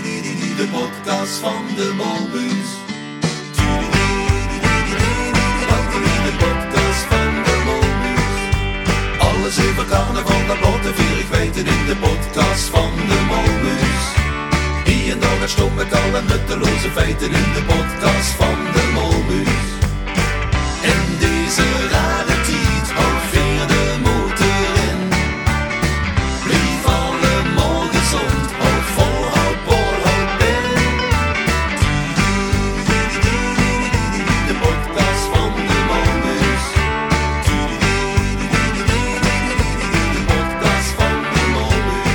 de podcast van de Molbus. de podcast van de Molbus. Alles even carnaval naar Bottenvier, ik weet het in de podcast van de Molbus. Wie en dan het stom met alle nutteloze feiten in de podcast van de Molbus. En deze rare tiet alweer de motor in. Blijf alle morgen zond, houd vol, houd bol, houd ben. De podcast van de Molbus. De podcast van de Molbus.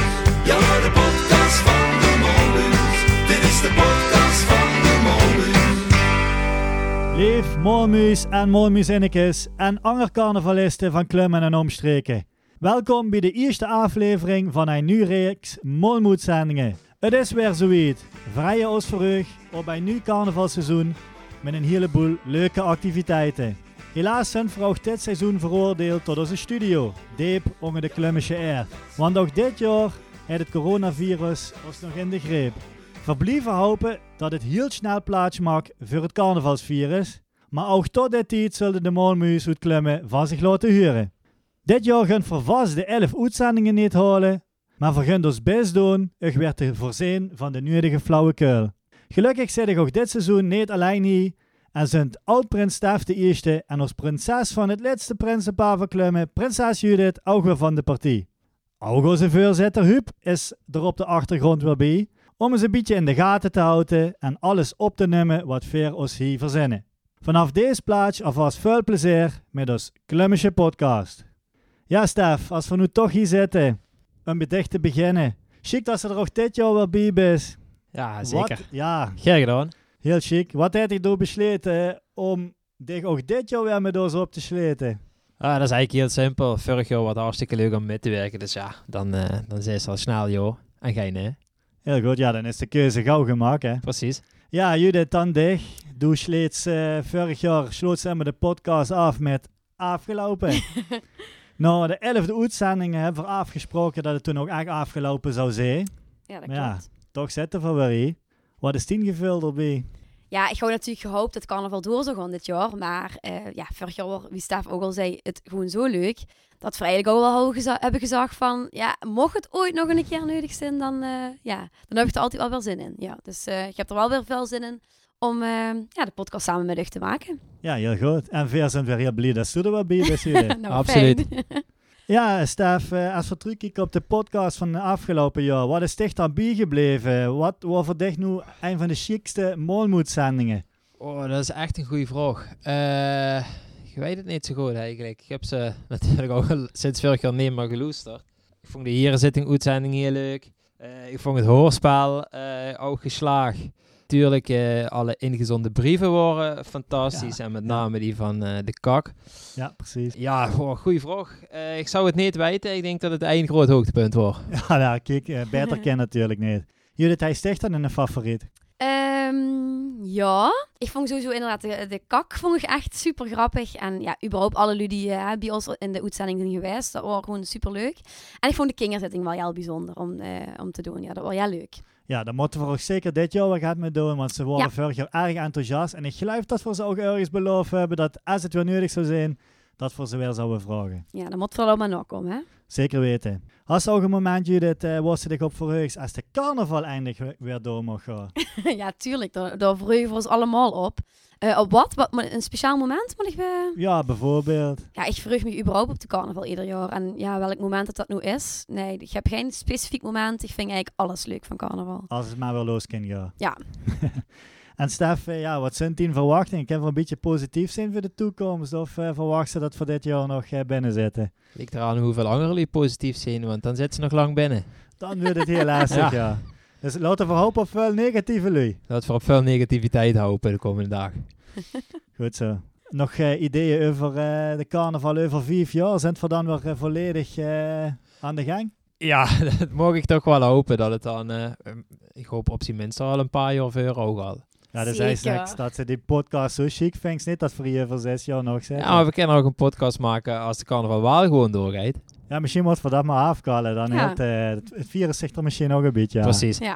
Ja, de podcast van de Molbus. Dit is de podcast van de Molbus. Leef Molmuis en Molmuizinnekes en ander carnavalisten van Klummen en omstreken. Welkom bij de eerste aflevering van een nieuwe reeks Molmoedzendingen. Het is weer zoiets. Vrije ons verheug op een nieuw carnavalseizoen met een heleboel leuke activiteiten. Helaas zijn we ook dit seizoen veroordeeld tot onze studio, diep onder de Klummische air. Want ook dit jaar heeft het coronavirus ons nog in de greep. Verblijven hopen dat het heel snel plaats maakt voor het carnavalsvirus. Maar ook tot die tijd zullen de molmuis uitklemmen van zich laten huren. Dit jaar gaan we vast de 11 uitzendingen niet halen. Maar we gaan ons best doen, ik werd er voorzien van de nodige flauwekul. Gelukkig zit ik ook dit seizoen niet alleen hier. En zijn oud-prins Staaf de Eerste en als prinses van het laatste prinsenpaar van Klemmen, prinses Judith, ook weer van de partij. Ook onze voorzitter Huub is er op de achtergrond weer bij om eens een beetje in de gaten te houden en alles op te nemen wat Veer ons hier verzinnen. Vanaf deze plaats alvast veel plezier met ons Klummische podcast. Ja, Stef, als we nu toch hier zitten, een bedicht te beginnen. Chic dat ze er ook dit jaar wel bij is. Ja, zeker. Wat- ja, Graag gedaan. heel chic. Wat heb je door besleten om dich ook dit jaar weer met ons op te sleten? Ah, dat is eigenlijk heel simpel. Vorig jaar was het hartstikke leuk om mee te werken. Dus ja, dan, eh, dan zijn ze al snel, joh. En geen nee. Heel goed, ja, dan is de keuze gauw gemaakt, hè. Precies. Ja, Judith, dan dich. Doe sleeds eh, vorig jaar sloot ze met de podcast af met afgelopen. nou, de elfde uitzending hebben we afgesproken dat het toen ook echt afgelopen zou zijn. Ja, dat Maar ja. klopt. Toch zitten we weer hier. Wat is tien gevuld erbij? Ja, ik had natuurlijk gehoopt dat carnaval door zou gaan dit jaar. Maar eh, ja, vorig jaar, was, wie Stef ook al zei, het gewoon zo leuk. Dat we eigenlijk ook wel hadden geza- hebben gezag van... Ja, mocht het ooit nog een keer nodig zijn, dan, eh, ja, dan heb ik er altijd wel weer zin in. Ja, dus eh, ik heb er wel weer veel zin in om eh, ja, de podcast samen met u te maken. Ja, heel goed. En veel zijn weer heel blij dat ze er weer bij is, Judith. Nou, Absoluut. fijn. ja, Stef, eh, als we terugkijken op de podcast van de afgelopen jaar. Wat is dicht dan bijgebleven? Wat was voor dich nu een van de chicste molmoedzendingen? Oh, dat is echt een goede vraag. Eh ik weet het niet zo goed eigenlijk. Ik heb ze natuurlijk ook al sinds vorig jaar niet meer geloesterd. Ik vond de herenzitting uitzending heel leuk. Eh, ik vond het hoorspel eh, ook geslaagd. Tuurlijk, eh, alle ingezonde brieven waren fantastisch. Ja, en met ja. name die van eh, de kak. Ja, precies. Ja, goh, goeie vraag. Eh, ik zou het niet weten. Ik denk dat het één groot hoogtepunt wordt. Ja, nou, kijk, eh, beter ken natuurlijk niet. Judith, hij sticht dan een favoriet. Ehm, ja, ik vond sowieso inderdaad de, de kak vond ik echt super grappig. En ja, überhaupt alle lui die eh, bij ons in de uitzending zijn geweest, dat was gewoon super leuk. En ik vond de kingerzitting wel heel bijzonder om, eh, om te doen. Ja, dat was heel leuk. Ja, dan moeten we ook zeker dit jaar wat gaat mee doen, want ze waren Ja. vorig jaar erg enthousiast. En ik geloof dat we ze ook ergens beloofd hebben dat als het weer nodig zou zijn, dat we ze weer zouden vragen. Ja, dan moet het wel allemaal nog komen, hè? Zeker weten. Als er ook een moment, Judith, eh was ze zich op verheugd als de carnaval eindelijk weer door mag gaan. ja, tuurlijk, daar, daar verheugen we ons allemaal op. Eh, op wat? wat? Een speciaal moment? Moet ik, eh, Ja, bijvoorbeeld. Ja, ik verheug me überhaupt op de carnaval ieder jaar. En ja, welk moment dat dat nu is? Nee, ik heb geen specifiek moment. Ik vind eigenlijk alles leuk van carnaval. Als het maar weer los kan gaan. Ja. en Stef, eh, ja, wat zijn tien verwachtingen? Kan we een beetje positief zijn voor de toekomst? Of eh, verwacht ze dat we dit jaar nog eh, binnen zitten? Ligt eraan hoeveel anderen jullie positief zijn, want dan zitten ze nog lang binnen. Dan wordt het heel lastig, ja. Ja. Dus laten we hopen op veel negatieve lui. Laten we op veel negativiteit hopen de komende dagen. Goed zo. Nog eh, ideeën over eh, de carnaval over vijf jaar? Zijn we dan weer eh, volledig eh, aan de gang? Ja, dat mag ik toch wel hopen dat het dan, eh, ehm, ik hoop op zijn minst al een paar jaar voor ook al. Ja, dat is Zeker. eigenlijk niks dat ze die podcast zo chic vindt. Niet dat we hier voor zes jaar nog zijn. Ja, maar we kunnen ook een podcast maken als de carnaval wel gewoon doorrijdt. Ja, misschien moeten we dat maar afkallen. Dan Ja. heeft, eh, het, het virus zich er misschien nog een beetje aan. Precies. Eh, Ja.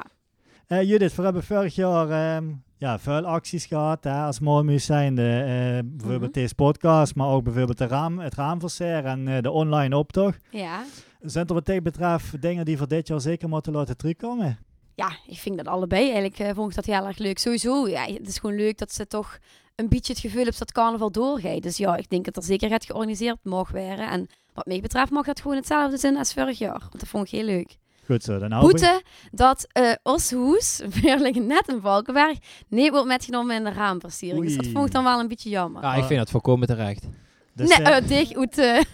Eh, Judith, we hebben vorig jaar ehm, ja, veel acties gehad hè, als Molmuus zijnde. eh, bijvoorbeeld Mhm. deze podcast, maar ook bijvoorbeeld de raam, het raamverseren en eh, de online optocht. Ja. Zijn er wat dit betreft dingen die voor dit jaar zeker moeten laten terugkomen? ja, ik vind dat allebei. Eigenlijk eh, vond ik dat heel erg leuk. Sowieso, ja, het is gewoon leuk dat ze toch een beetje het gevoel hebben dat carnaval doorgaat. Dus ja, ik denk dat er zeker het georganiseerd mag worden. En wat mij betreft mag dat gewoon hetzelfde zijn als vorig jaar. Want dat vond ik heel leuk. Goed zo, dan houden we- Boete dat eh Oshoes, Veerlingen net en Valkenberg, niet wordt metgenomen in de raamversiering. Dus dat Oei. vond ik dan wel een beetje jammer. Ja, ik vind dat volkomen terecht. Dus, nee, eh, eh, dicht uit de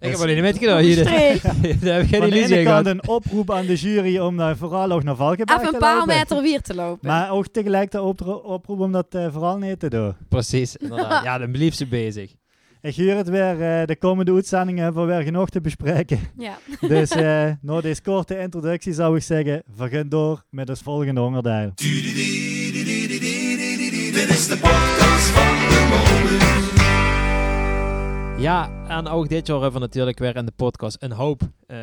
Ik heb alleen niet metgedaan hier. Daar streek. heb ik geen van de illusie ene in kant gehad. een oproep aan de jury om daar vooral ook naar Valkenberg Even een te paar lopen. meter weer te lopen. Maar ook tegelijk de opdro- oproep om dat eh, vooral niet te doen. Precies, inderdaad. Ja, dan blieft ze bezig. Ik huur het weer, eh, de komende uitzendingen hebben we weer genoeg te bespreken. Ja. Dus eh na deze korte introductie zou ik zeggen, begin door met ons volgende onderdeel. Dit is de podcast van de Molus. Ja, en ook dit jaar hebben we natuurlijk weer in de podcast een hoop eh,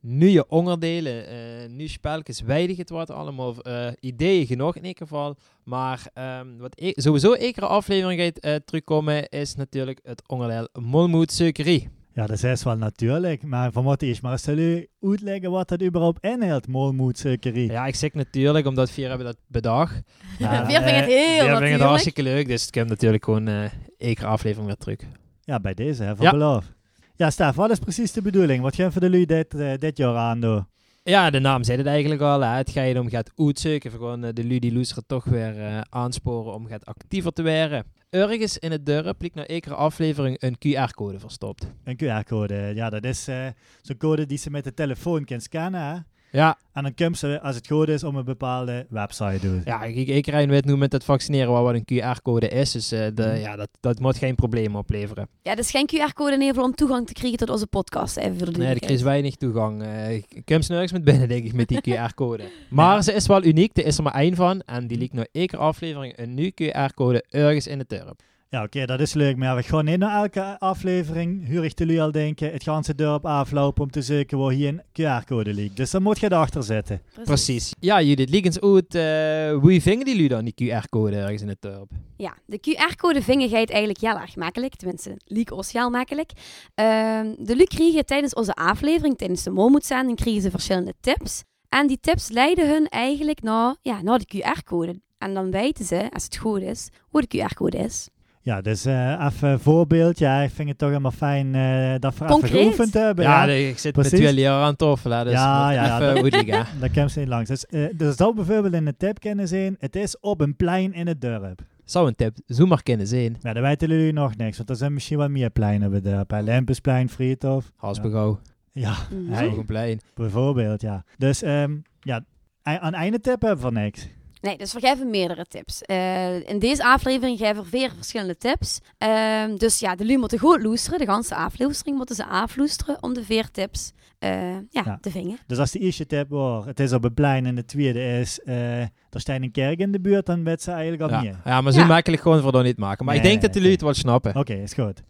nieuwe onderdelen, eh nieuwe spelletjes, weidig het wat allemaal, eh, ideeën genoeg in ieder geval. Maar ehm, wat e- sowieso iedere aflevering gaat eh, terugkomen is natuurlijk het onderdeel Molmoed Suikerie. Ja, dat is wel natuurlijk, maar van wat is, maar zal u uitleggen wat dat überhaupt inhoudt, molmoedsuikerie? Ja, ik zeg natuurlijk, omdat vier hebben dat bedacht. Ja, Weer vind ik het eh, heel Ja, vind het natuurlijk. hartstikke leuk, dus ik heb natuurlijk gewoon eh iedere aflevering weer terug. Ja, bij deze, hè, van Ja. beloof. Ja, Stef, wat is precies de bedoeling? Wat gaan we de lui dit, eh, dit jaar aan doen? Ja, de naam zei het eigenlijk al. Hè. Het gaat om gaat uitzoeken. voor Gewoon eh, de Ludie Loeser toch weer eh, aansporen om gaat actiever te worden. Ergens in het dorp liep na iedere aflevering een QR-code verstopt. Een QR-code, ja, dat is eh, zo'n code die ze met de telefoon kunnen scannen, hè? Ja, En dan kunnen ze, als het goed is, om een bepaalde website doen. ja ik, ik rij weet nu met het vaccineren wel wat een QR-code is. Dus eh, de, Mhm. ja, dat, dat moet geen probleem opleveren. Ja, dat is geen QR-code in ieder geval om toegang te krijgen tot onze podcast. Even voor de Nee, er duidelijkheid. is weinig toegang. Eh, ik kom ze nergens met binnen, denk ik, met die QR-code. Maar ze is wel uniek. Er is er maar één van. En die liep na iedere aflevering een nieuwe QR-code ergens in het dorp. Ja, oké, dat is leuk. Maar we gaan niet naar elke aflevering, huur ik jullie al denken, het ganse dorp aflopen om te zoeken waar hier een QR-code ligt. Dus daar moet je erachter zitten. Precies. Ja, Judith, lieg eens uit. eh, hoe vingen die lui dan die QR-code ergens in het dorp? Ja, de QR-code vingen gaat eigenlijk heel erg makkelijk. Tenminste, liek ons heel makkelijk. Ehm, de Luc kregen tijdens onze aflevering, tijdens de Momoetzending, kregen ze verschillende tips. En die tips leiden hun eigenlijk naar, ja, naar de QR-code. En dan weten ze, als het goed is, hoe de QR-code is. Ja, dus eh, even een voorbeeld. Ja, ik vind het toch helemaal fijn eh, dat we even Concreet. geoefend hebben. Ja, ja. nee, ik zit precies. met jullie al aan tafel. hè, Dus Ja, ja, ja, ja, ja, even dat- goed liggen. hè. Daar komt ze niet langs. Dus, eh, dus dat bijvoorbeeld in de tip kunnen zijn, het is op een plein in het dorp. Zou een tip. Zo maar kunnen zijn. Maar dan weten jullie nog niks, want er zijn misschien wel meer pleinen bij het dorp. hè. Lempensplein, Friedhof. Hasbegouw. Ja, Mhm. Hey. Zo een plein. bijvoorbeeld, ja. Dus ehm, ja, a- aan ene tip hebben we niks. Nee, dus we geven meerdere tips. Eh, in deze aflevering geven we weer verschillende tips. Ehm, dus ja, de lui moeten goed loesteren. De ganse aflevering moeten ze afloesteren om de veer tips eh, ja, Ja. te vingen. Dus als de eerste tip wordt, het is op een plein en de tweede is, eh er staat een kerk in de buurt, dan weet ze eigenlijk al Ja. niet. ja, maar zo Ja. makkelijk gewoon voor dan niet maken. Maar ik Nee, denk dat die nee. jullie het wel snappen. Oké, is goed.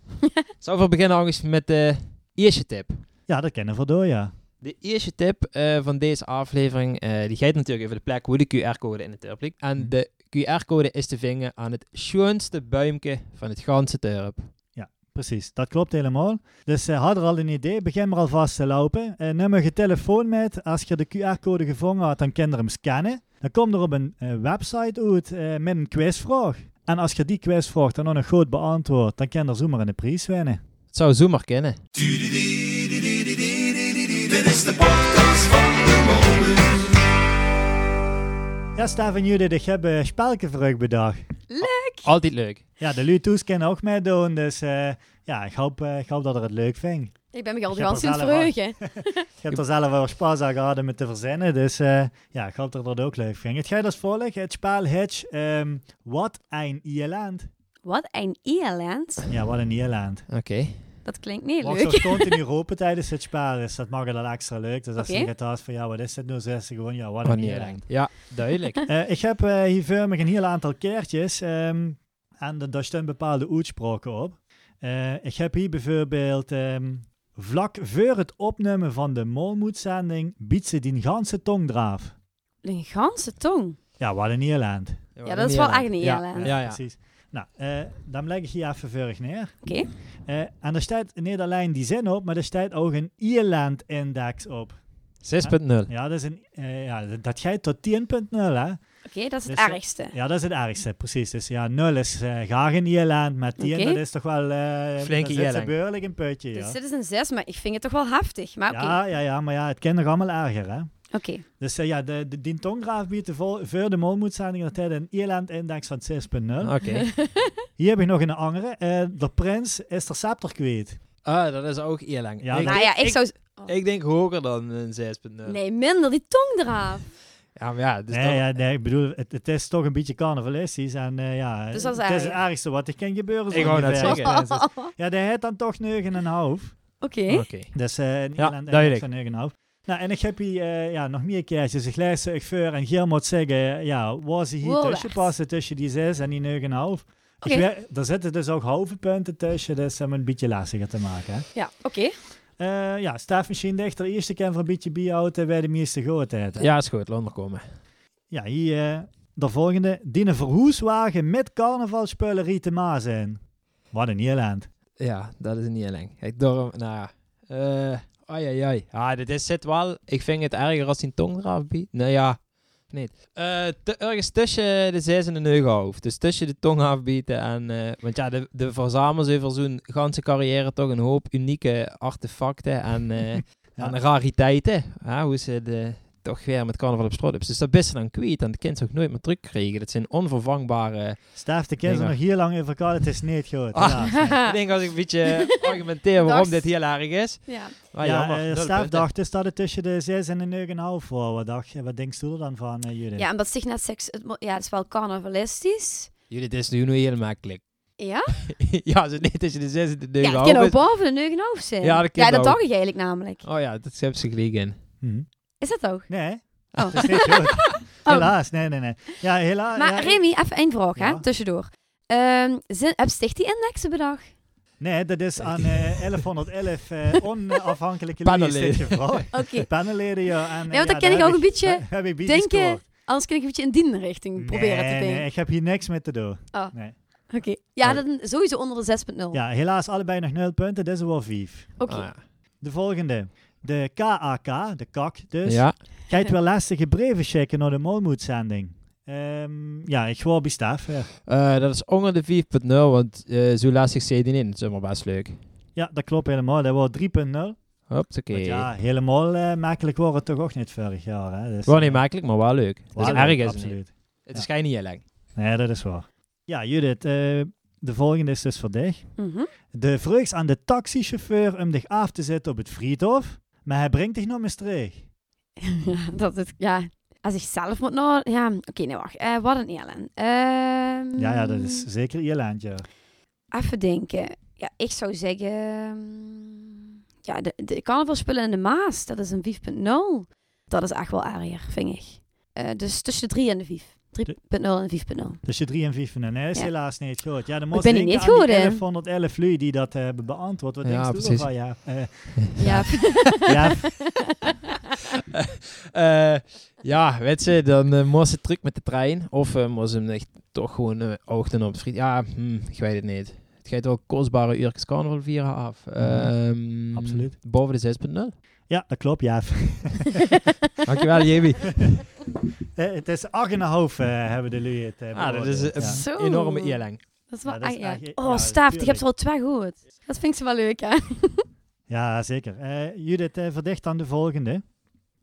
Zou we beginnen Angus, met de eerste tip. Ja, dat kennen we door, ja. De eerste tip eh, van deze aflevering, eh, die gaat natuurlijk over de plek hoe de QR-code in het dorp ligt. En de QR-code is te vingen aan het schoonste buimke van het ganse dorp. Precies, dat klopt helemaal. Dus eh, had er al een idee, begin maar alvast te lopen. Eh neem je telefoon met, als je de QR-code gevangen had, dan kan je hem scannen. Dan komt er op een eh, website uit eh, met een quizvraag. En als je die quizvraag dan nog een goed beantwoordt, dan kan je er zomaar een prijs winnen. Het zou zo maar kennen. Dit is de podcast van de Molus. Ja, Stef en Judith, ik heb eh, spelken voor u bedacht. Altijd leuk. Ja, de Lutoes kennen ook meedoen, dus eh, ja, ik hoop, eh, ik hoop dat er het leuk vindt. Ik ben me al Ik de heb ganse er in het zelf aan. vreugde. Ik heb er zelf wel spaas aan gehad met te verzinnen, dus eh, ja, ik hoop dat het ook leuk vindt. Het gaat als volgt, het spel Hitch, ehm, wat een Ierland. Wat een Ierland. Ja, wat een Ierland. Oké. Dat klinkt niet Mag leuk. zo continu roepen tijdens het spel, dus dat maakt het al extra leuk. Dus als je Oké. gaat thuis van, ja, wat is dit nou, zegt ze gewoon, ja, wat Van een Nederland. Ierland. Ja, duidelijk. Eh, ik heb eh, hier voor me een heel aantal keertjes ehm, en er- daar staan bepaalde uitspraken op. Eh, ik heb hier bijvoorbeeld ehm, vlak voor het opnemen van de molmoedzending biedt ze die ganse tongdraaf. Een ganse tong. Ja, wat een Ierland. Ja, dat is wel echt een Ja, Ierland. ja, ja. precies. Nou, eh, dan leg ik hier even vurig neer. Oké. Eh, en er staat niet alleen die zin op, maar er staat ook een Ierland-index op. 6.0. Ja, dat, is een, eh, ja, dat- dat gaat tot 10.0, hè? Oké, dat is het Dus, eh, ergste. Ja, dat is het ergste, precies. Dus ja, 0 is eh, graag in Ierland, maar 10, Oké. dat is toch wel... eh Flinke dat is Ierland. beurlijk een putje, ja. Dus dit is een 6, maar ik vind het toch wel heftig. Maar oké. ja, ja, ja, maar ja, het kan nog allemaal erger, hè? Oké. Dus eh, ja, de, de, die tonggraaf biedt de vol- voor de molmoedzaling dat hij een Ierland-index van 6.0. Oké. Hier heb ik nog een andere. Eh, de prins is de scepter kwijt. Ah, dat is ook Ierland. Ja, ik, dat- Nou ja, ik, ik- zou... ik denk hoger dan een 6.0. Nee, minder. Die tong eraf. Ja, maar ja, dus nee, dat- ja, nee, ik bedoel, het, het is toch een beetje carnavalistisch. En eh, ja, Dus dat is het is het erg. ergste wat er kan gebeuren. Ik wou net ongeveer. zeggen. Ja, dus- Ja, die heeft dan toch 9,5. Oké. Oké. Dus eh in Ja, Ierland duidelijk. is van 9,5. Nou, en ik heb hier eh, ja, nog meer keertjes. Ik lijst ik voor en Geer moet zeggen, eh, ja, was hij hier Woolworths. tussen passen tussen die 6 en die 9,5? Ik Oké. weet- Er zitten dus ook halve punten tussen, dus om het een beetje lastiger te maken. Hè. Ja, oké. Eh, ja, staat misschien dichter. Eerste keer voor een beetje bierhouten bij de meeste goedheid. hè. Ja, is goed. Laat maar komen. Ja, hier eh, de volgende. Dienen verhoeswagen met carnavalspullerie te ma zijn. Wat een Ierland. Ja, dat is niet lang. Ik daarom, nou ja. Eh, ai, ai, ai. Ah, dit is zit wel. Ik vind het erger als die tong eraf biedt. Nou ja, niet. Eh, te- ergens tussen de 6 en de 9 hoofd. Dus tussen de tong afbieten en... eh, want ja, de, de verzamels heeft voor zo'n ganse carrière toch een hoop unieke artefacten en, eh, Ja. en rariteiten. Ja, hoe ze de, toch weer met carnaval op strot hebben. Dus dat best dan kwijt. En de kind zou ook nooit meer terugkrijgen. Dat zijn onvervangbare... Staaf de kinderen Mega. nog hier lang in elkaar. Het is niet goed. Ah. helaas. ik denk als ik een beetje argumenteer waarom dit heel erg is... ja. Ah, ja, jammer. eh, Nul Staaf punten. dacht dus dat het tussen de 6 en de 9,5 voor. Wat, dacht, je- wat denkst u er dan van, eh, Judith? ja, en dat zich net seks... Het, mo- ja, het is wel carnavalistisch. Jullie, dit is nu helemaal makkelijk. Ja? ja, ze niet tussen de zes en de Ja, negen het kan ook houden. boven de neugen hoofd zijn. Ja, dat kan dat ook. dacht ik eigenlijk namelijk. Oh ja, dat heb ze gelijk in. Hm. Is dat ook? Nee, Oh. het is niet goed. Helaas, nee, nee, nee. Ja, helaas. Maar ja, Remy, even één vraag, Ja. hè, tussendoor. Ehm, zin, heb sticht die indexen bedacht? nee, dat is aan eh, 1111 eh, onafhankelijke Panelleden. leden gevraagd. Oké. Panelleden, ja. En, eh, want dat ken daar ik heb ook een beetje daar heb ik bij denken- gescoord. Anders kan ik een beetje in die richting proberen te Nee, denken. nee, ik heb hier niks mee te doen. Oké. Ja, dan sowieso onder de 6.0. Ja, helaas allebei nog 0 punten, dit is er wel 5. Oké. Ah, ja. De volgende. De KAK, de kak dus. ja. Ga je het wel lastige breven checken naar de molmoedzending? Ehm ja, ik gewoon bij Staaf. Ja. Eh, dat is onder de 4.0, want eh, zo laat zich CD in. Dat is allemaal best leuk. Ja, dat klopt helemaal. Dat wordt 3.0. Want Hopsakee. Ja, helemaal eh, makkelijk wordt het toch ook niet vorig jaar. Hè? Dus, Wel niet makkelijk, maar eh, wel leuk. Dat is Wel, erg, is het niet. Absoluut. Het is geen heel lang. Nee, dat is waar. Ja, Judith, eh, de volgende is dus voor dich. Mhm. De vreugd aan de taxichauffeur om dich af te zetten op het friedhof, maar hij brengt dich naar Maastricht. Ja, dat het, ja. Als ik zelf moet nou... Ja, oké, nou wacht. Eh, wat een Ellen. Ehm, Ja, ja, dat is zeker Ierland, ja. Even denken. Ja, ik zou zeggen... mm, Ja, de, de carnavalspullen in de Maas, dat is een 5.0. Dat is echt wel aardiger, vind ik. Eh, dus tussen de 3 en de 5. 3.0 en 5.0 Dus je 3 en 5 en nee, is Ja. helaas niet goed. Ja, dan Maar moest ben ik denken niet aan goed, die hè? 1111 lui die dat eh, hebben beantwoord. Wat Ja, denk je precies. ervan? Ja, eh, Ja. ja, Eh, ja, weet ze, dan eh, moest het terug met de trein. Of eh moest hem echt toch gewoon eh ochtend op het friet. Ja, hm, ik weet het niet. Het gaat wel kostbare uurtjes carnaval vieren af. Ehm, Absoluut. Boven de 6.0. ja, dat klopt, ja. Dankjewel, Jimmy. Eh, het is 8,5 eh, hebben de lui het eh, Ah, dat is beoordeeld, een ja. Zo. enorme eerlang. Dat is wel Ja, dat is echt- ja. echt- ja, Oh, Staaf, je hebt tuurlijk. er al twee gehoord. Dat vind ik ze wel leuk, hè? Ja, zeker. Eh, Judith eh, verdicht aan de volgende.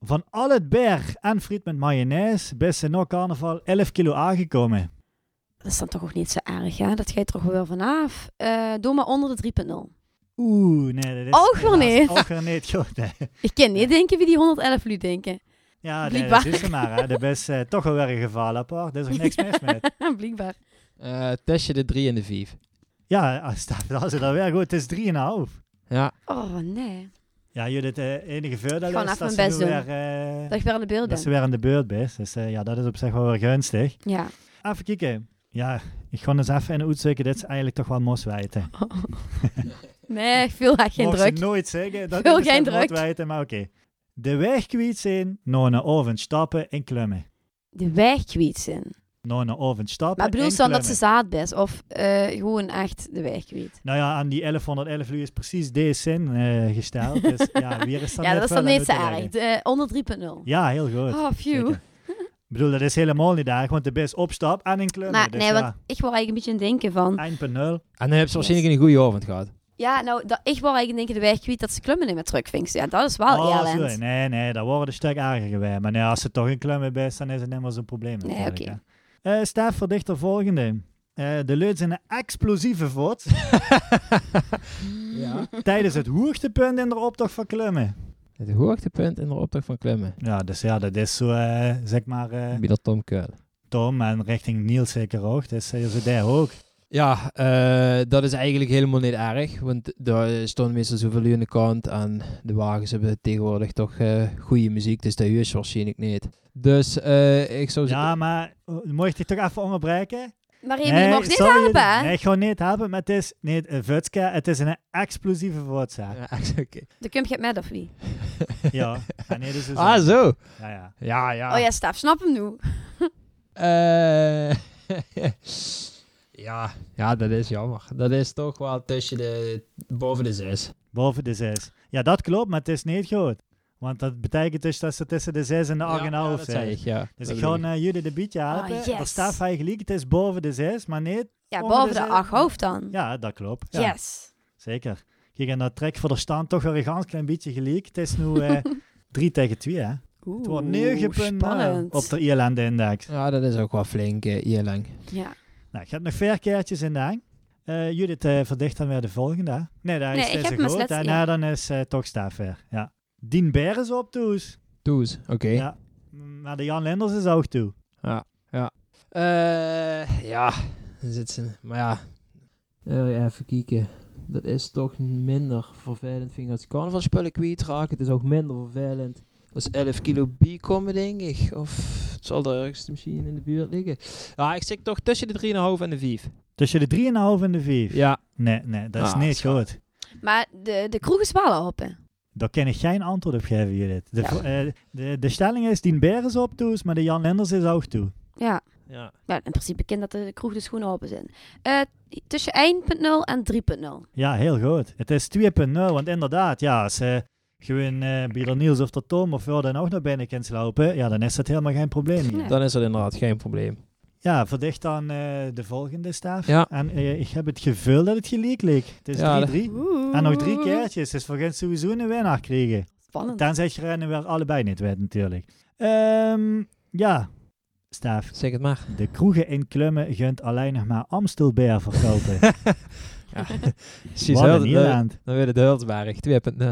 Van al het berg en friet met mayonaise best ze nog carnaval 11 kilo aangekomen. Dat is dan toch ook niet zo erg, hè? Dat gaat er toch wel vanaf. Eh doe maar onder de 3.0. Oeh, nee, dat is Ook weer helaas niet. Ook weer niet goed. hè. Ik ken niet denken wie die 111 nu denken. Ja, nee, dat Blijkbaar. is er maar. Hè. Dat is eh, toch wel weer een geval apart. Er is ook niks mis mee. Blijkbaar. Eh tussen de 3 en de 5. Ja, als dat, als het alweer goed is, 3,5. Ja, Oh, nee. Ja, Judith, het enige voordeel Gewoon is even dat ze, mijn nu best weer, doen. eh, Dat ik weer aan de beeld dat ze ben. weer aan de beurt is. Dus eh, ja, dat is op zich wel weer gunstig. Ja. Even kijken. Ja, ik ga eens even in uitzoeken. Dit is eigenlijk toch wel moswijten. Nee, ik voel echt geen Mocht druk. ze nooit zeggen. Dat Veel is geen het druk. moswijten, maar oké. De weg kwijt zijn, naar een oven stappen en klimmen. De weg kwijtsen. Naar een oven stappen Maar bedoel en je dan dat ze klimmen. zaadbes of eh, gewoon echt de weg kwijt? Nou ja, aan die 1111 uur is precies deze zin eh, gesteld. Dus ja, weer is dat Ja, net dat is wel dan aan niet zo uit te erg. leggen. De, eh, onder 3.0. Ja, heel goed. oh, phew. zeker. Ik bedoel, dat is helemaal niet erg, want de best opstap en een klimmen. Maar dus nee, want ja, ik word eigenlijk een beetje aan het denken Ah. van... eindpunt 1.0. En dan heb ze waarschijnlijk een goede avond gehad. Ja, nou, dat, ik word eigenlijk denken de weg kwijt dat ze klummen in mijn truckvinks. Ja, dat is wel Oh, eerlijk. sorry. Nee, nee, dat wordt een stuk erger geweest. Maar nee, als ze toch een klimmen best, dan is het helemaal zo'n probleem. Nee, natuurlijk, oké. hè. Eh, Stef verdicht de volgende. Eh, de leut zijn een explosieve voort ja. tijdens het hoogtepunt in de optocht van klimmen. Het hoogtepunt in de opdracht van klimmen. Ja, dus ja, dat is zo, eh, zeg maar, eh, Bij dat Tom Keul. Tom en richting Niels zeker ook. Dus eh, ze daar ook. Ja, eh, dat is eigenlijk helemaal niet erg. Want daar stond meestal zoveel uur aan de kant. En de wagens hebben tegenwoordig toch eh, goede muziek. Dus dat is waarschijnlijk niet. Dus eh, ik zou Ja, maar eh, mocht ik toch even onderbreken? Maar Remy, je mag niet helpen, hè? Nee, ik ga niet helpen, maar het is niet een vutske, het is een explosieve voortzaak. Ja, oké. Dan kun je het met, of wie? Ja, en nee, dus is Ah, zo. Ja, ja. Ja, ja. Oh ja, Staf, snap hem nu. Eh, ja. ja, dat is jammer. Dat is toch wel tussen de... boven de zes. Boven de 6. Ja, dat klopt, maar het is niet groot. Want dat betekent dus dat ze tussen de 6 en de 8,5 ja, ja, dat zei zijn. ik, ja. Dus Dat ik bedoel ga naar jullie de bietje helpen. Ah, Er yes. staat van gelijk, het is boven de 6, maar niet. Ja, Onder de boven de zes. acht hoofd dan. Ja, dat klopt. Ja, Yes. Zeker. Kijk, en dat trek voor de stand toch weer een ganz klein beetje gelijk. Het is nu eh 3 tegen 2, hè? Het wordt 9 punten eh, spannend. op de E Ierland-index. Ja, dat is ook wel flink eh, hier lang. Ja. Nou, ik heb nog vier keertjes in de hang. Eh, Judith eh, verdicht dan weer de volgende. hè? Nee, daar Nee, is ik deze heb hem als goed. laatste, en ja. dan is eh, toch Staaf weer. Ja. Dien Beer is op toe. Toes, oké. Ja. Maar de Jan Lenders is ook toe. Eh, ja, dan zit ze. Maar ja. Eh, even kijken. Dat is toch minder vervelend, vind ik, als carnavalspullen kwijtraken. Het is ook minder vervelend. Dat is 11 kilo komen, denk ik. Of het zal er ergens misschien in de buurt liggen. Ja, ik zit toch tussen de 3,5 en de 5. Tussen de 3,5 en de 5. Ja. Nee, nee, dat is Ah, niet schat. goed. Maar de, de kroeg is wel open. Daar kan ik geen antwoord op geven, Judith. De, Ja. vo- eh, de, de stelling is, Dien Beer is op toe, maar de Jan Lenders is ook toe. Ja. ja. ja, in principe kind dat de kroeg de schoenen open zijn. Eh, tussen 1.0 en 3.0. Ja, heel goed. Het is 2.0, want inderdaad, ja, als eh, gewoon eh bij de Niels of de Tom of waar dan ook naar binnen kunt lopen, ja, dan is dat helemaal geen probleem hier. Nee. Dan is dat inderdaad geen probleem. Ja, verdicht dan eh, de volgende staaf. Ja. En eh, ik heb het gevoel dat het gelijk leek. Het is 3-3. Ja, En nog drie keertjes, dus we gaan sowieso een winnaar krijgen. Spannend. Tenzij je er weer allebei niet weet, natuurlijk. Ehm, ja, Staaf. Zeg het maar. De kroegen in Klummen gunt alleen nog maar Amstelbeer verkopen. Ja. Precies, Wat heel- eh, een Ierland. Dan weer de Hulsberg 2.0.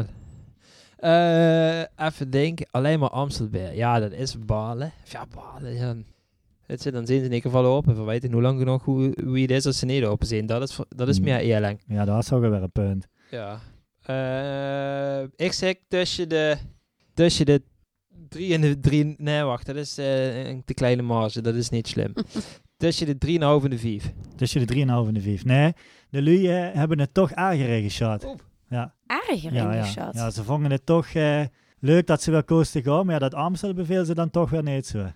Eh even denken, alleen maar Amstelberg. Ja, dat is balen. Of Ja, balen. Ja. Het zit, dan zijn ze in ieder geval open. We weten hoe lang genoeg hoe, hoe het is als ze niet open zijn. Dat is, voor- dat is Hmm. meer eerlijk. Ja, dat was ook weer een punt. Ja. Eh, ik zeg tussen de, tussen de drie en de drie. Nee, wacht, dat is eh, een te kleine marge. Dat is niet slim. tussen de 3,5 en de 5. Tussen Dus de 3,5 en de 5. Nee, de lui eh, hebben het toch aangeregen, shot. Oeh. Ja, Erger ja, in die ja. shot. ja, ze vonden het toch eh, leuk dat ze wel koos te gaan, maar ja, dat Amstel beveel ze dan toch weer niet zo.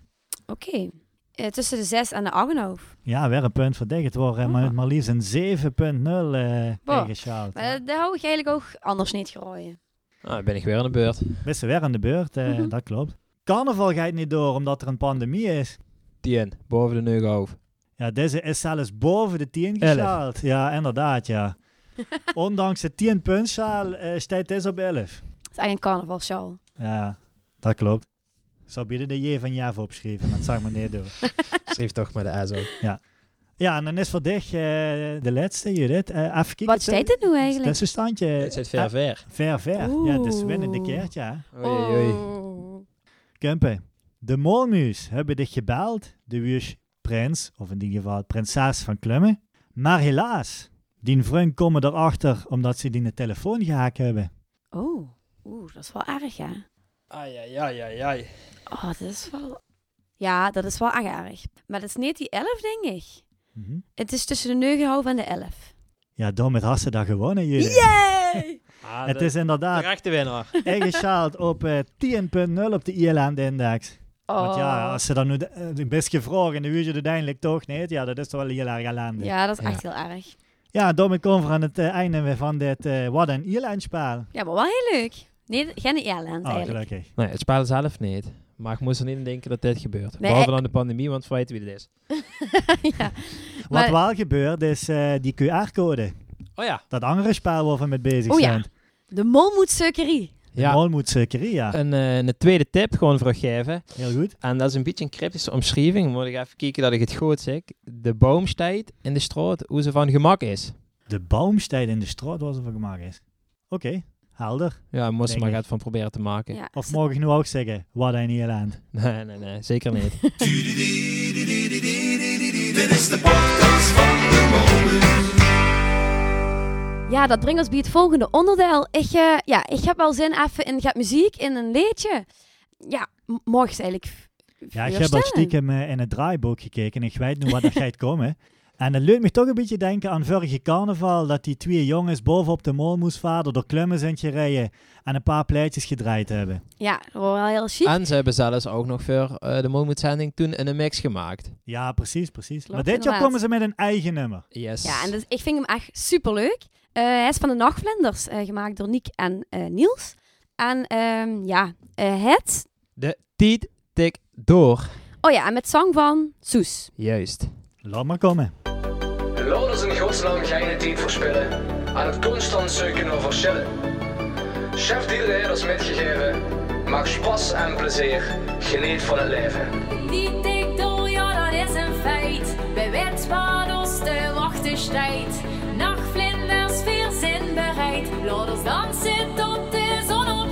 Oké. Eh, tussen de 6 en de 8,5. Ja, weer een punt verdedigd worden. Ah. eh, Maar, maar liefst een 7.0 eh Wow. ingeschaald. Maar dat- dat hou ik eigenlijk ook anders niet gerooien. Ah, dan ben ik weer aan de beurt. Best weer aan de beurt, eh, Mhm. dat klopt. Carnaval gaat niet door omdat er een pandemie is. 10, boven de neugenhoofd. Ja, deze is zelfs boven de 10 Elf. geschaald. Ja, inderdaad, ja. Ondanks de 10 puntschaal eh staat deze op 11. Dat is eigenlijk een carnavalsjaal. Ja, dat klopt. Ik zou bieden de J van Java opschrijven, maar dat zag me niet door. Schreef toch maar de S op. Ja, en dan is voor dich eh, de laatste, Judith. Eh, even kijken. Wat staat dit nu Het eigenlijk? tussenstandje. Ah, Het zit ver, ver. Ver, ver. Ja, dus Oeh. winnende keertje, hè. Oei, oei. Oh. Kumpen, de molmuus hebben dich gebeld, de wuurs prins, of in dit geval prinses van Klummen. Maar helaas, die vriend komen erachter omdat ze die in de telefoon gehaakt hebben. Oh. Oeh, dat is wel erg, hè? Ai, ai, ai, ai, ai. Oh, dat is wel... Ja, dat is wel erg erg. Maar dat is niet die 11, denk ik. Mhm. Het is tussen de 9,5 en de 11. Ja, daarmee had ze dat gewonnen, jullie. Yay! Ah, het de- is de inderdaad echte winnaar. ingeschaald op eh, 10.0 op de ILM-index. Oh. Want ja, als ze dan nu de- eh, de best gevraagd en dan weet je het uiteindelijk toch niet. Ja, dat is toch wel heel erg ellende. Ja, Ja, dat is Ja. echt heel erg. daarmee komen we aan het eh, einde weer van dit eh, Wat een Ierland-spaal. Ja, maar wel heel leuk. Nee, geen Ierland Oh, eigenlijk. gelukkig. Nee, het spel zelf niet. Maar ik moest er niet aan denken dat dit gebeurt. Nee, Behalve eh, dan de pandemie, want we weten wie dit is. ja. Wat Maar- wel gebeurt is eh, die QR-code. Oh ja. Dat andere spaal waar we mee bezig Oh ja. zijn. De molmoedsuikerie. Ja. ja. moet zeker, ja. Een, eh, een tweede tip gewoon voor geven. Heel goed. En dat is een beetje een cryptische omschrijving. Moet ik even kijken dat ik het goed zeg. De boom staat in de straat hoe ze van gemak is. De boomstijd in de straat waar ze van gemaakt is. Oké, helder. Ja, moest Denk maar ik. gaat van proberen te maken. Ja. Of mag ik nu ook zeggen, wat een Ierland. Nee, nee, nee. Zeker niet. Dit is de podcast van de Molus. ja, dat brengt ons bij het volgende onderdeel. Ik, eh, ja, ik heb wel zin even in gaat muziek, in een liedje. Ja, m- morgen is eigenlijk... v- Ja, ik heb veel al stemmen. stiekem eh, in het draaiboek gekeken en ik weet nu wat er gaat komen. En dat leuk me toch een beetje denken aan vorige carnaval, dat die twee jongens bovenop de mol moest vader door klemmen zijn gereden en een paar pleitjes gedraaid hebben. Ja, dat wordt wel heel chic. en ze hebben zelfs ook nog voor eh, de Moonmoed-zending toen een mix gemaakt. Ja, precies, precies. Klopt, maar dit jaar inderdaad. komen ze met een eigen nummer. Yes. Ja, en dus, ik vind hem echt superleuk. Eh hij is van de Nachtvlinders, eh, gemaakt door Niek en eh, Niels. En ehm, ja, eh, het... De tiet tik door. Oh ja, en met zang van Soes. Juist. Laat maar komen. Laat ons in godsnaam geen tijd verspillen aan het constant zoeken naar verschillen. Chef Dealer is metgegeven, maak spas en plezier, geniet van het leven. Die tik door, ja, dat is een feit. Bij wet waar ons te wachten staat. Nachtvlinders, veel zin bereid. Laat ons dansen tot de zon opgaat.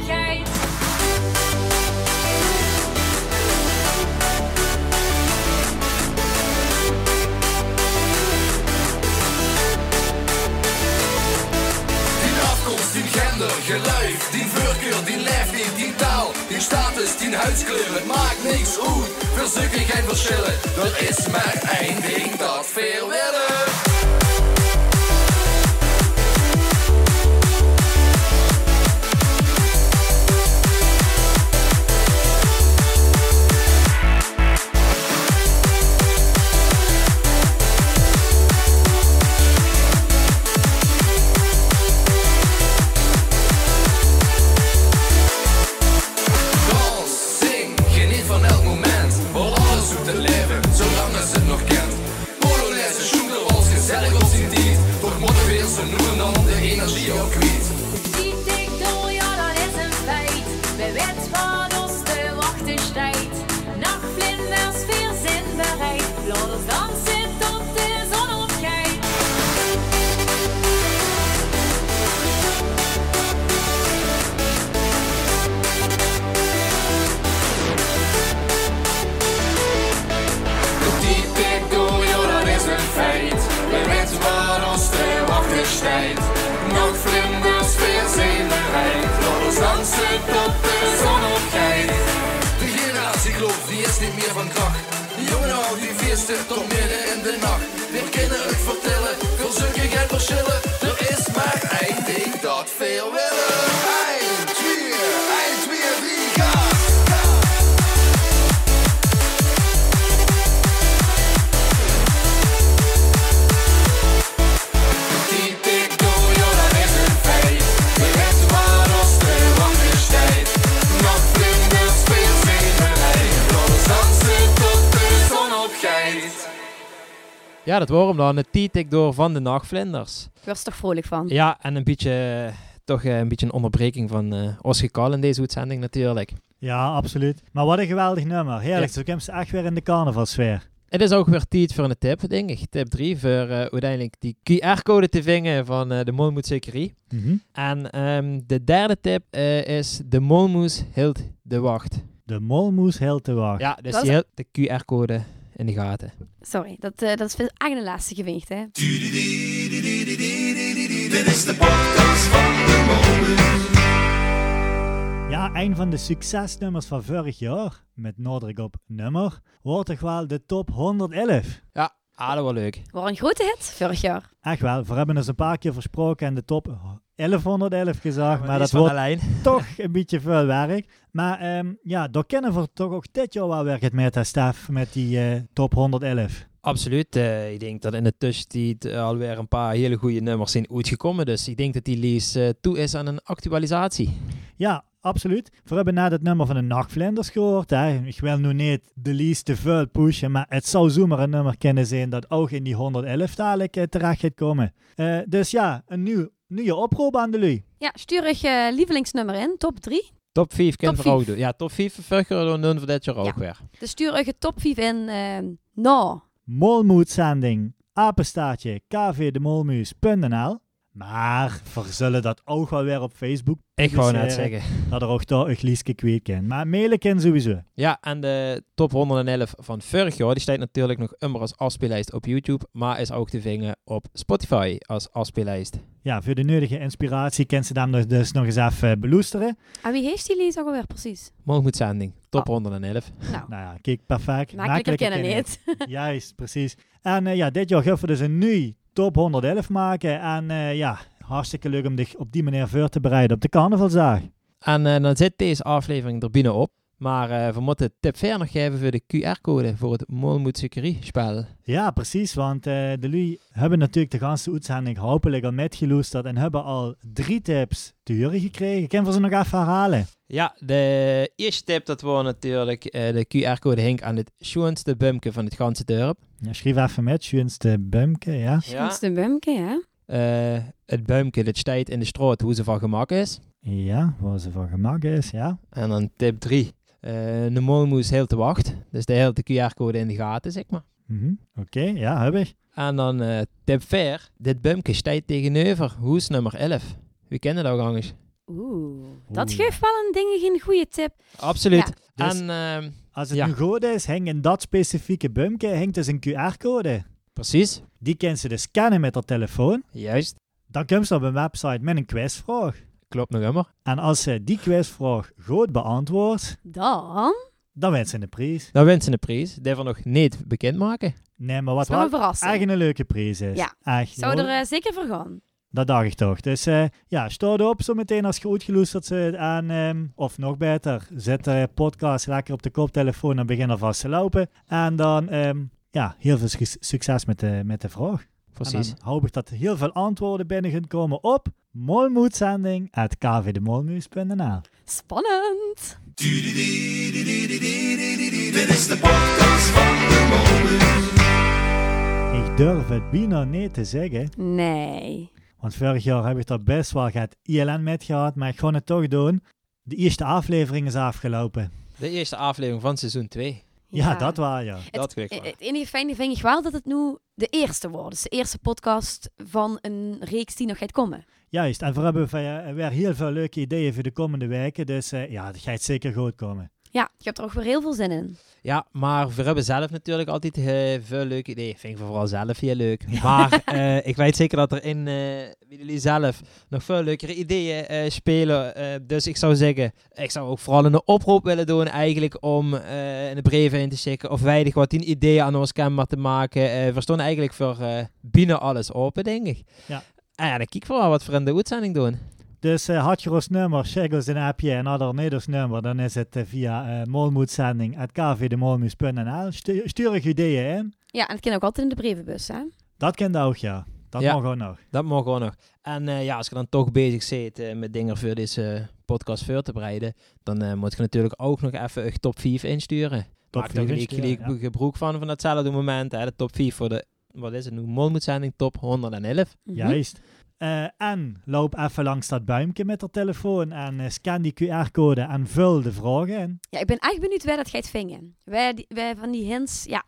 Dien afkomst, dien gender, geluid, dien voorkeur, dien leeftijd, dien taal, dien status, dien huidskleur, het maakt niks uit. Verzoeken geen verschillen, er is maar één ding dat veel willen. Dans, zing, geniet van elk moment, hoor alles hoe te leven, zolang als het nog kent. Polonaise, schoenen, als gezellig op zijn tijd, toch moeten weer zo noemen dan de energie ook kwijt. Die tik door, ja, dat is een feit. Bij wet waar ons te wachten staat. Nachtvlinders, veel zin bereid. Laat ons dansen tot de zon opgaat. Die tik door, ja dat is een feit, we weten waar ons te wachten staat. Nog vlinders, veel zenuwheid, laat ons dansen tot de zon opgaat. De generatie kloof, die is niet meer van kracht. Die jongen houden die feesten tot midden in de nacht. Weer kinderen het vertellen, veel zulke geen verschillen. Er is maar één ding dat veel willen. 1, 2, 1, 2, 3, ga! Die tik door, ja dat is een feit, we weten waar ons te wachten staat. Nog vlinders, veel zenuwheid, laat ons dansen tot de zon opgaat. Ja, dat waren hem dan. De tiet tik door van de nachtvlinders. Ik was er toch vrolijk van. Ja, en een beetje, eh, toch eh, een beetje een onderbreking van eh Oscar Kal in deze uitzending natuurlijk. Ja, absoluut. Maar wat een geweldig nummer. Heerlijk, Ja. zo komen ze echt weer in de carnavalsfeer. Het is ook weer tijd voor een tip, denk ik. Tip 3 voor eh, uiteindelijk die QR-code te vingen van eh, de Molmoedzekerie. Mhm. En ehm, de derde tip eh, is de Molmoes hield de wacht. De molmoes heel te wacht. Ja, dus Dat is- die hield de QR-code in de gaten. Sorry, dat, eh, dat is eigenlijk de laatste gewicht, hè? Dit is de podcast van de Molus. Ja, een van de succesnummers van vorig jaar, met nadruk op nummer, wordt toch wel de top 111. Ja, Ah, dat was leuk. Wordt een grote hit vorig jaar. Echt wel, we hebben eens een paar keer versproken en de top 1111 gezag, maar, die dat is van wordt Alijn. toch een beetje veel werk. Maar ehm, ja, daar kennen we toch ook dit jaar wel werk het met, hè, Stef, met die eh, top 111. Absoluut. eh, ik denk dat in de tussentijd eh, alweer een paar hele goede nummers zijn uitgekomen. Dus ik denk dat die lease eh, toe is aan een actualisatie. Ja, absoluut. We hebben na het nummer van de Nachtvlinders gehoord. Hè. Ik wil nu niet de least te veel pushen, maar het zou zomaar een nummer kunnen zijn dat ook in die 111 dadelijk eh, terecht gaat komen. Eh, dus ja, een nieuw, nieuwe oproep aan de lui. Ja, stuur je eh, lievelingsnummer in, top 3. Top 5 kunnen Top we ook vijf. doen. Ja, top 5 vergeren doen we dit jaar ook Ja. weer. Dus stuur je top 5 in ehm nou. molmoedzending apenstaartje kvdemolmuus.nl. Maar we zullen dat ook wel weer op Facebook, Ik wou Dus, net eh, zeggen. dat er ook daar een gliesje kwijt kan. Maar mailen kan sowieso. Ja, en de top 111 van vorig jaar, die staat natuurlijk nog immer als afspeellijst op YouTube, maar is ook te vingen op Spotify als afspeellijst. Ja, voor de nodige inspiratie kan ze dan dus- dus nog eens even eh, beloesteren. En wie heeft die lees ook alweer precies? Molmoedzending, top 111. Nou, Nou ja, kijk, perfect. makkelijker kennen niet. Juist, precies. En eh, ja, dit jaar gaan we dus een nieuw top 111 maken. En eh, ja, hartstikke leuk om dich op die manier voor te bereiden op de carnavalsdag. En eh, dan zit deze aflevering er binnen op, maar eh, we moeten tip verder nog geven voor de QR-code voor het Molmoedsukerie-spel. Ja, precies, want eh, de lui hebben natuurlijk de ganse uitzending hopelijk al metgeloesterd en hebben al drie tips te horen gekregen. Ik kan voor ze nog even herhalen. Ja, de eerste tip dat was natuurlijk eh, de QR-code hink aan het schoonste bumke van het ganse dorp. Ja, schrijf even met, schoonste bumke, ja. Dat is de bumke, hè? Eh, het bumke dat staat in de straat hoe ze van gemak is. Ja, waar ze van gemak is, ja. En dan tip 3. eh de molmoes heel te wacht. Dus de hele QR-code in de gaten, zeg maar. Mhm. Oké, ja, heb ik. En dan eh, tip 4. Dit bumke staat tegenover hoes nummer 11. Wie kennen dat ook eens? Oeh. Dat Oeh. geeft wel een ding geen goede tip. Absoluut. Ja. Dus- En ehm, Als het Ja. nu goed is, hing in dat specifieke bumke hangt dus een QR-code. precies, Die kan ze dus scannen met haar telefoon. juist, Dan komt ze op een website met een quizvraag. klopt nog immer. En als ze die quizvraag goed beantwoordt, Dan dan wint ze een prijs. Dan wint ze een prijs. Daarvan nog niet bekendmaken. Nee, maar is wat wel wel een verrassing. echt een leuke prijs is. Ja. Echt. Zou hoor. er eh, zeker voor gaan. Dat dacht ik toch. Dus eh, ja, stoot op zo meteen als je uitgeloesterd zit. En, ehm, of nog beter, zet de podcast lekker op de koptelefoon en begin alvast te lopen. En dan, ehm, ja, heel veel suc- succes met de, met de vraag. Precies. En dan hoop ik dat er heel veel antwoorden binnen gaan komen op molmoedzending.kvdemolmuus.nl Spannend. Dit is de podcast van de Molmuis. Ik durf het bijna niet te zeggen, Nee. want vorig jaar heb ik daar best wel het ILN met gehad, maar ik ga het toch doen. De eerste aflevering is afgelopen. De eerste aflevering van seizoen 2. Ja, dat wel, ja. Dat weet ik Het, wel. het enige fijne vind ik wel dat het nu de eerste wordt. Dus de eerste podcast van een reeks die nog gaat komen. Juist, en voor hebben we eh, weer heel veel leuke ideeën voor de komende weken. Dus eh, ja, dat gaat zeker goed komen. Ja, ik heb er ook weer heel veel zin in. Ja, maar we hebben zelf natuurlijk altijd eh, veel leuke ideeën. Vind ik vooral zelf heel leuk. Maar eh, ik weet zeker dat er in eh, bij jullie zelf nog veel leukere ideeën eh, spelen. Eh, dus ik zou zeggen, ik zou ook vooral een oproep willen doen eigenlijk om eh, een brief in te schikken. Of weinig wat tien ideeën aan ons kenbaar te maken. Eh, we staan eigenlijk voor eh, binnen alles open, denk ik. Ja. En ja, dan kijk vooral wat we in de uitzending doen. Dus eh, had je ons nummer, check ons een appje en had er niet ons nummer, dan is het eh, via uh, molmoedzending.kvdemolmuus.nl. Stu- Stuur je ideeën in. Ja, en het kan ook altijd in de brievenbus, hè? Dat kende ook, ja. Dat Ja. mag ook nog. Dat mag gewoon nog. En eh, ja, als je dan toch bezig zit eh, met dingen voor deze eh, podcast voor te bereiden, dan eh, moet je natuurlijk ook nog even een top 5 insturen. Top Maak vier er gelijk, insturen, gelijk ja. gebruik van van datzelfde moment. Hè, de top 5 voor de, wat is het nu, Molmoedzending top 111. Mhm. Juist. Eh, en loop even langs dat buimpje met de telefoon en eh, scan die QR-code en vul de vragen in. Ja, ik ben echt benieuwd waar dat gaat vingen. Wij, die- wij van die hints, ja,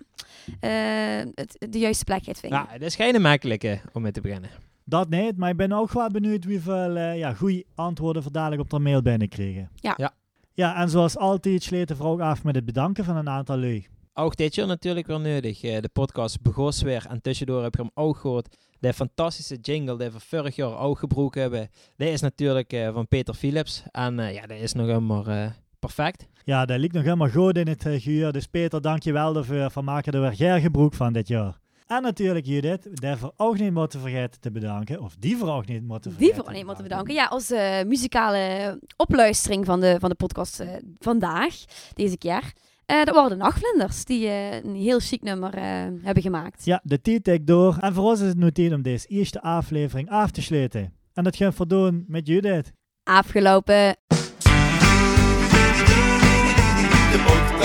eh, het, de juiste plek gaat vingen. Nou, het is geen makkelijke om mee te beginnen. Dat niet, maar ik ben ook wel benieuwd hoeveel eh ja, goede antwoorden we dadelijk op de mail binnenkrijgen. Ja. Ja. Ja, en zoals altijd sleet de vrouw af met het bedanken van een aantal lui. Ook dit jaar natuurlijk weer nodig. Eh, de podcast begon weer en tussendoor heb je hem ook gehoord. De fantastische jingle die we vorig jaar ook gebruikt hebben. Die is natuurlijk eh, van Peter Philips. En eh, ja, die is nog helemaal eh, perfect. Ja, dat liep nog helemaal goed in het eh, geur. Dus Peter, dank je wel daarvoor. Van maken er weer geer gebroek van dit jaar. En natuurlijk Judith, daarvoor ook niet moeten vergeten te bedanken. Of die voor ook niet moeten vergeten. Die voor nee, moeten bedanken. Ja, als eh, muzikale opluistering van de, van de podcast eh, vandaag, deze keer. Eh, dat waren de Nachtvlinders, die eh, een heel chic nummer eh, hebben gemaakt. Ja, de tijd tikt door. En voor ons is het nu tijd om deze eerste aflevering af te sluiten. En dat gaan we doen met Judith. Afgelopen De podcast.